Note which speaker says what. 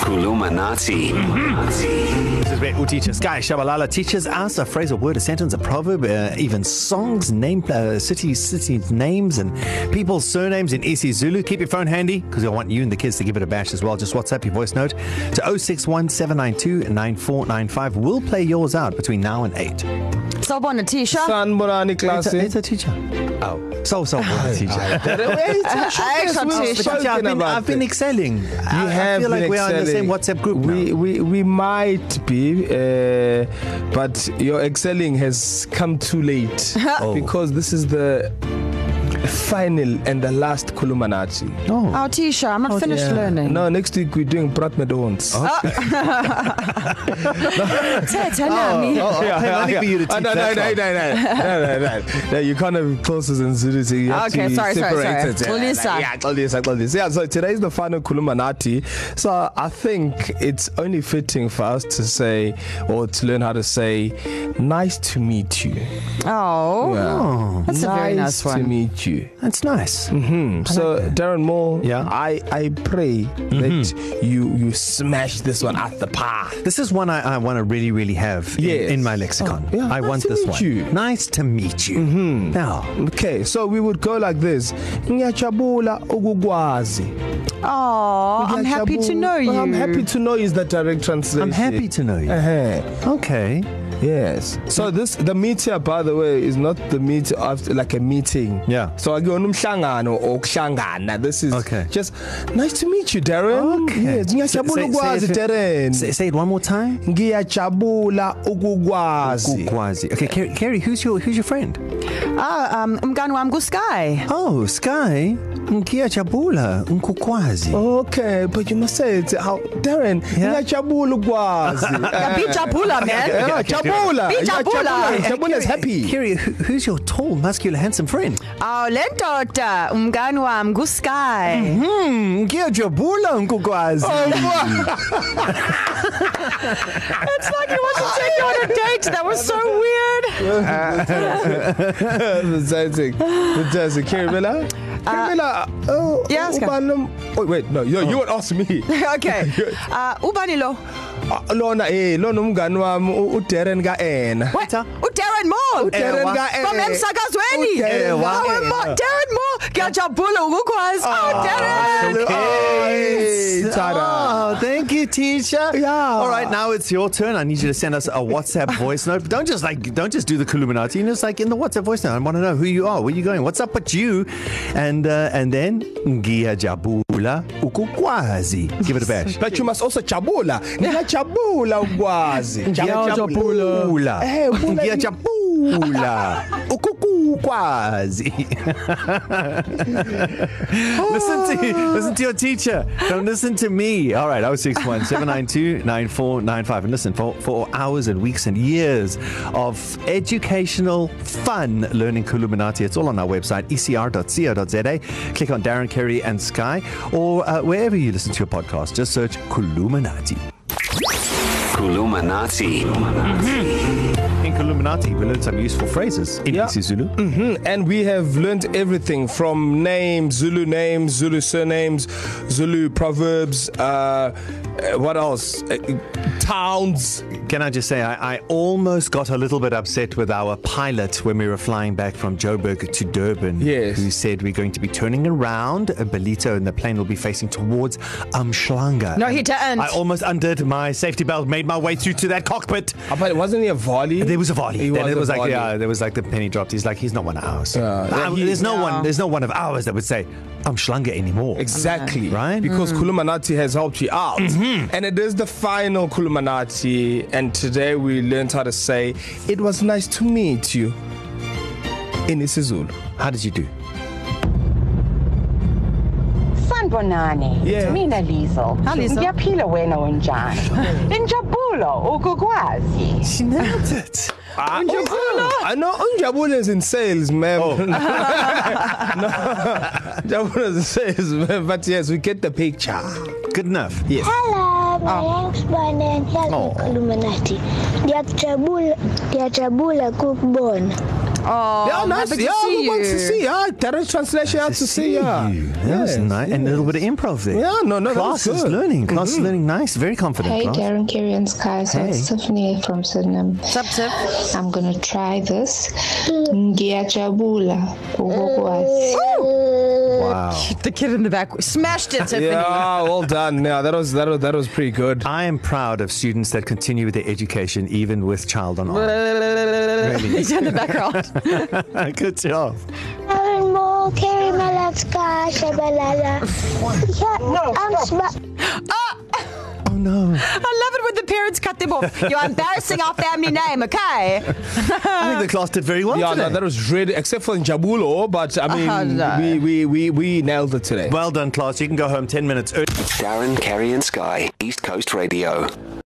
Speaker 1: Kulumanati.
Speaker 2: This is where Uticha Sky Shabalala teaches us a phrase, a word, a sentence, a proverb, uh, even songs, name, uh, city, city names, and people's surnames in isiZulu. Keep your phone handy because I want you and the kids to give it a bash as well. Just WhatsApp your voice note to 0617929495. We'll play yours out between now and eight.
Speaker 3: Sawubona Tisha.
Speaker 4: Sanibonani
Speaker 2: It's a,
Speaker 4: klasi.
Speaker 2: it's a teacher. Oh, so so a teacher.
Speaker 3: Action
Speaker 2: But
Speaker 3: Tisha.
Speaker 4: spoken
Speaker 2: teacher, I've been,
Speaker 4: about
Speaker 2: I've been
Speaker 4: it.
Speaker 2: excelling. You I, I
Speaker 4: have
Speaker 2: feel like
Speaker 4: been
Speaker 2: we are in the same
Speaker 4: excelling.
Speaker 2: WhatsApp group. now.
Speaker 4: We, we we might be, uh, but your excelling has come too late
Speaker 2: Oh.
Speaker 4: oh. because this is the final and the last Kulumanati.
Speaker 2: oh.
Speaker 3: Oh Tisha, I'm not finished learning.
Speaker 4: No, next week we're doing Prat Medons. Oh,
Speaker 3: Tete nami.
Speaker 2: oh, yeah, pay yeah, money yeah. for you to teach
Speaker 4: oh, no, no,
Speaker 2: that
Speaker 4: no, no,
Speaker 2: one.
Speaker 4: no, no, no, no, no. You can't have closes and Zulu. So you have
Speaker 3: Okay,
Speaker 4: to
Speaker 3: sorry, sorry,
Speaker 4: separate
Speaker 3: sorry.
Speaker 4: It.
Speaker 3: Xolisa.
Speaker 4: Yeah, Xolisa, Xolisa. Yeah, so today is the final Kulumanati. So I think it's only fitting for us to say, or to learn how to say, nice to meet you. Uh,
Speaker 3: Oh.
Speaker 2: Oh,
Speaker 3: That's a very nice
Speaker 4: to
Speaker 3: one.
Speaker 4: meet you.
Speaker 2: that's nice.
Speaker 4: Mm. So like Darren Moore,
Speaker 2: Yeah.
Speaker 4: I, I pray mm-hmm. that you you smash this one at the park.
Speaker 2: This is one I, I want to really, really have in, yes.
Speaker 4: Yes.
Speaker 2: in my lexicon. Oh,
Speaker 4: yeah.
Speaker 2: I
Speaker 4: Nice
Speaker 2: want
Speaker 4: to
Speaker 2: this
Speaker 4: meet
Speaker 2: one.
Speaker 4: you.
Speaker 2: Nice to meet you. Mm-hmm. Now,
Speaker 4: Okay, so we would go like this. Ngiyajabula ukukwazi.
Speaker 3: Oh, I'm happy to know you.
Speaker 4: I'm happy to know you is the direct translation.
Speaker 2: I'm happy to know you.
Speaker 4: Uh-huh.
Speaker 2: Okay.
Speaker 4: Yes. So this the meteor by the way is not the meet after like a meeting.
Speaker 2: Yeah.
Speaker 4: So akuyona umhlangano or kuhlangana. This is
Speaker 2: Okay.
Speaker 4: just nice to meet you Darren.
Speaker 2: Okay.
Speaker 4: Oh, Yes, ngiyajabula
Speaker 2: Say- say-
Speaker 4: ukwazi
Speaker 2: say- Say,
Speaker 4: Darren.
Speaker 2: say it one more time.
Speaker 4: Ngiyajabula ukukwazi.
Speaker 2: Gukwazi. Okay, Kerry, Kerry, who's your who's your friend?
Speaker 3: Ah, um umngani wami kuSky.
Speaker 2: Oh, Sky. Nkia Chabula,
Speaker 4: Oh,
Speaker 2: Nkukwazi.
Speaker 4: Okay, but you must say it how Darren
Speaker 2: Yeah.
Speaker 4: ngiyajabula ukwazi.
Speaker 3: Ngiyabijabula man.
Speaker 4: Yeah, jabula.
Speaker 3: Be
Speaker 4: Yeah,
Speaker 3: jabula.
Speaker 4: Jabula is happy.
Speaker 2: Kerry, who, who's your tall, muscular, handsome friend?
Speaker 3: Aw lendoda umngani wami kuSky.
Speaker 4: Mm-hmm.
Speaker 2: Hmm, Nkia Chabula, Nkukwazi. Oh,
Speaker 3: It's like he wants to take you on a date. That was so weird.
Speaker 4: Fantastic. Fantastic. Carabella? Carabella, oh,
Speaker 3: yeah, it's
Speaker 4: ubani lo- Oh, wait, no, you, you won't ask me.
Speaker 3: Okay. Uh ubani lo?
Speaker 4: Ah, Lona, eh, lona umngani wami u- uDarren kaEna.
Speaker 3: What? uDarren Moore.
Speaker 4: uDarren
Speaker 2: Ewa.
Speaker 4: kaEna.
Speaker 3: From emsakazweni.
Speaker 4: uDarren
Speaker 3: Hawe
Speaker 4: kaEna.
Speaker 3: Mo, Darren Moore. Ngiyajabula ukukwazi. Oh Darren.
Speaker 4: Okay. Tada.
Speaker 2: Oh, thank you, teacher.
Speaker 4: Yeah.
Speaker 2: All right, now it's your turn. I need you to send us a WhatsApp voice note. But don't just like don't just do the Columinati. You know, it's like in the WhatsApp voice note. I want to know who you are, where you going, what's up with you, and uh, and then ngia jabula ukukwazi. Give it a bash.
Speaker 4: But you must also jabula. Ngiyajabula ukwazi. Eh, bula-
Speaker 2: Ngia jabula ukukwazi. listen to listen to your teacher. Don't listen to me. All right, 061 792 9495. And listen, for, for hours and weeks and years of educational fun learning Kuluminati, it's all on our website, E ecr.co.za. Click on Darren Kerry and Sky, or uh, wherever you listen to your podcast, just search Kuluminati.
Speaker 1: Kulumanati.
Speaker 2: In Kuluminati, we learned some useful phrases in yeah.
Speaker 4: Yeah.
Speaker 2: isiZulu.
Speaker 4: Mm, and we have learned everything from names, Zulu names, Zulu surnames, Zulu proverbs, uh, uh, what else? Uh, towns.
Speaker 2: Can I just say, I, I almost got a little bit upset with our pilot when we were flying back from Joburg to Durban.
Speaker 4: Yes.
Speaker 2: Who said we're going to be turning around uh, Belito and the plane will be facing towards Umshlanga.
Speaker 3: No, he didn't.
Speaker 2: I almost undid my safety belt, made my way through to that cockpit.
Speaker 4: Uh, But wasn't he a volley?
Speaker 2: There was a volley.
Speaker 4: He
Speaker 2: Then
Speaker 4: was
Speaker 2: it was
Speaker 4: a
Speaker 2: like,
Speaker 4: volley.
Speaker 2: yeah, there was like the penny dropped. He's like, he's not one of ours.
Speaker 4: Yeah.
Speaker 2: I,
Speaker 4: He-
Speaker 2: there's no
Speaker 3: yeah.
Speaker 2: one. There's no one of ours that would say Umshlanga anymore.
Speaker 4: Exactly.
Speaker 2: Mm-hmm. Right?
Speaker 4: Because mm. Kulumanati has helped you out. Mm-hmm. And it is the final Kulumanati. And today we learned how to say, it was nice to meet you in isiZulu.
Speaker 2: How did you do?
Speaker 5: Sanibonani.
Speaker 4: Yeah.
Speaker 5: Mina Lizo.
Speaker 3: Hi, Lizo.
Speaker 5: Ngiyaphila wena unjani? Injabulo ukukwazi.
Speaker 2: She nailed it.
Speaker 4: Ah, Unjabula. I know Unjabula is in sales, ma'am. Oh. no, Unjabula is in sales, ma'am. But yes, we get the picture.
Speaker 2: Good enough.
Speaker 4: Yes.
Speaker 6: Hello, my oh. name's Brandon. Here's oh. Illuminati. Ngiyajabula, ngiyajabula kukubona.
Speaker 3: Oh,
Speaker 4: Yeah,
Speaker 3: I'm
Speaker 4: nice.
Speaker 3: happy to
Speaker 4: yeah,
Speaker 3: see
Speaker 4: we want
Speaker 3: you.
Speaker 4: to see. Yeah, direct translation out to see. Yeah,
Speaker 2: you. That was nice. And a little bit of improv there.
Speaker 4: Yeah, no, no, that was
Speaker 2: Class is
Speaker 4: good. Mm-hmm.
Speaker 2: learning. Class is learning. Nice. Very confident.
Speaker 1: Hey,
Speaker 2: class.
Speaker 1: Darren, Kerry, and Sky. So
Speaker 2: Hey.
Speaker 1: it's Tiffany from Sydney.
Speaker 3: Sup, Tiff?
Speaker 1: I'm gonna try this. Ngiyajabula ukukwazi.
Speaker 2: Eh. Wow.
Speaker 3: The kid in the back smashed it, Tiffany.
Speaker 4: Yeah, well done. Yeah, that was that was that was pretty good.
Speaker 2: I am proud of students that continue with their education even with child on arm.
Speaker 3: He's in the background.
Speaker 2: Good job.
Speaker 6: Aaron Moore, Carrie Malak, Sky, Shabalala. Yeah, I'm smart.
Speaker 2: Oh no.
Speaker 3: Ah, I love it when the parents cut them off. You're embarrassing our family name, okay?
Speaker 2: I think the class did very well
Speaker 4: Yeah,
Speaker 2: today.
Speaker 4: no, that was really except for in Jabulo, but I mean,
Speaker 3: Oh, no.
Speaker 4: we, we we we nailed it today.
Speaker 2: well done, class. You can go home 10 minutes early.
Speaker 7: Darren, Kerry, and Sky, East Coast Radio.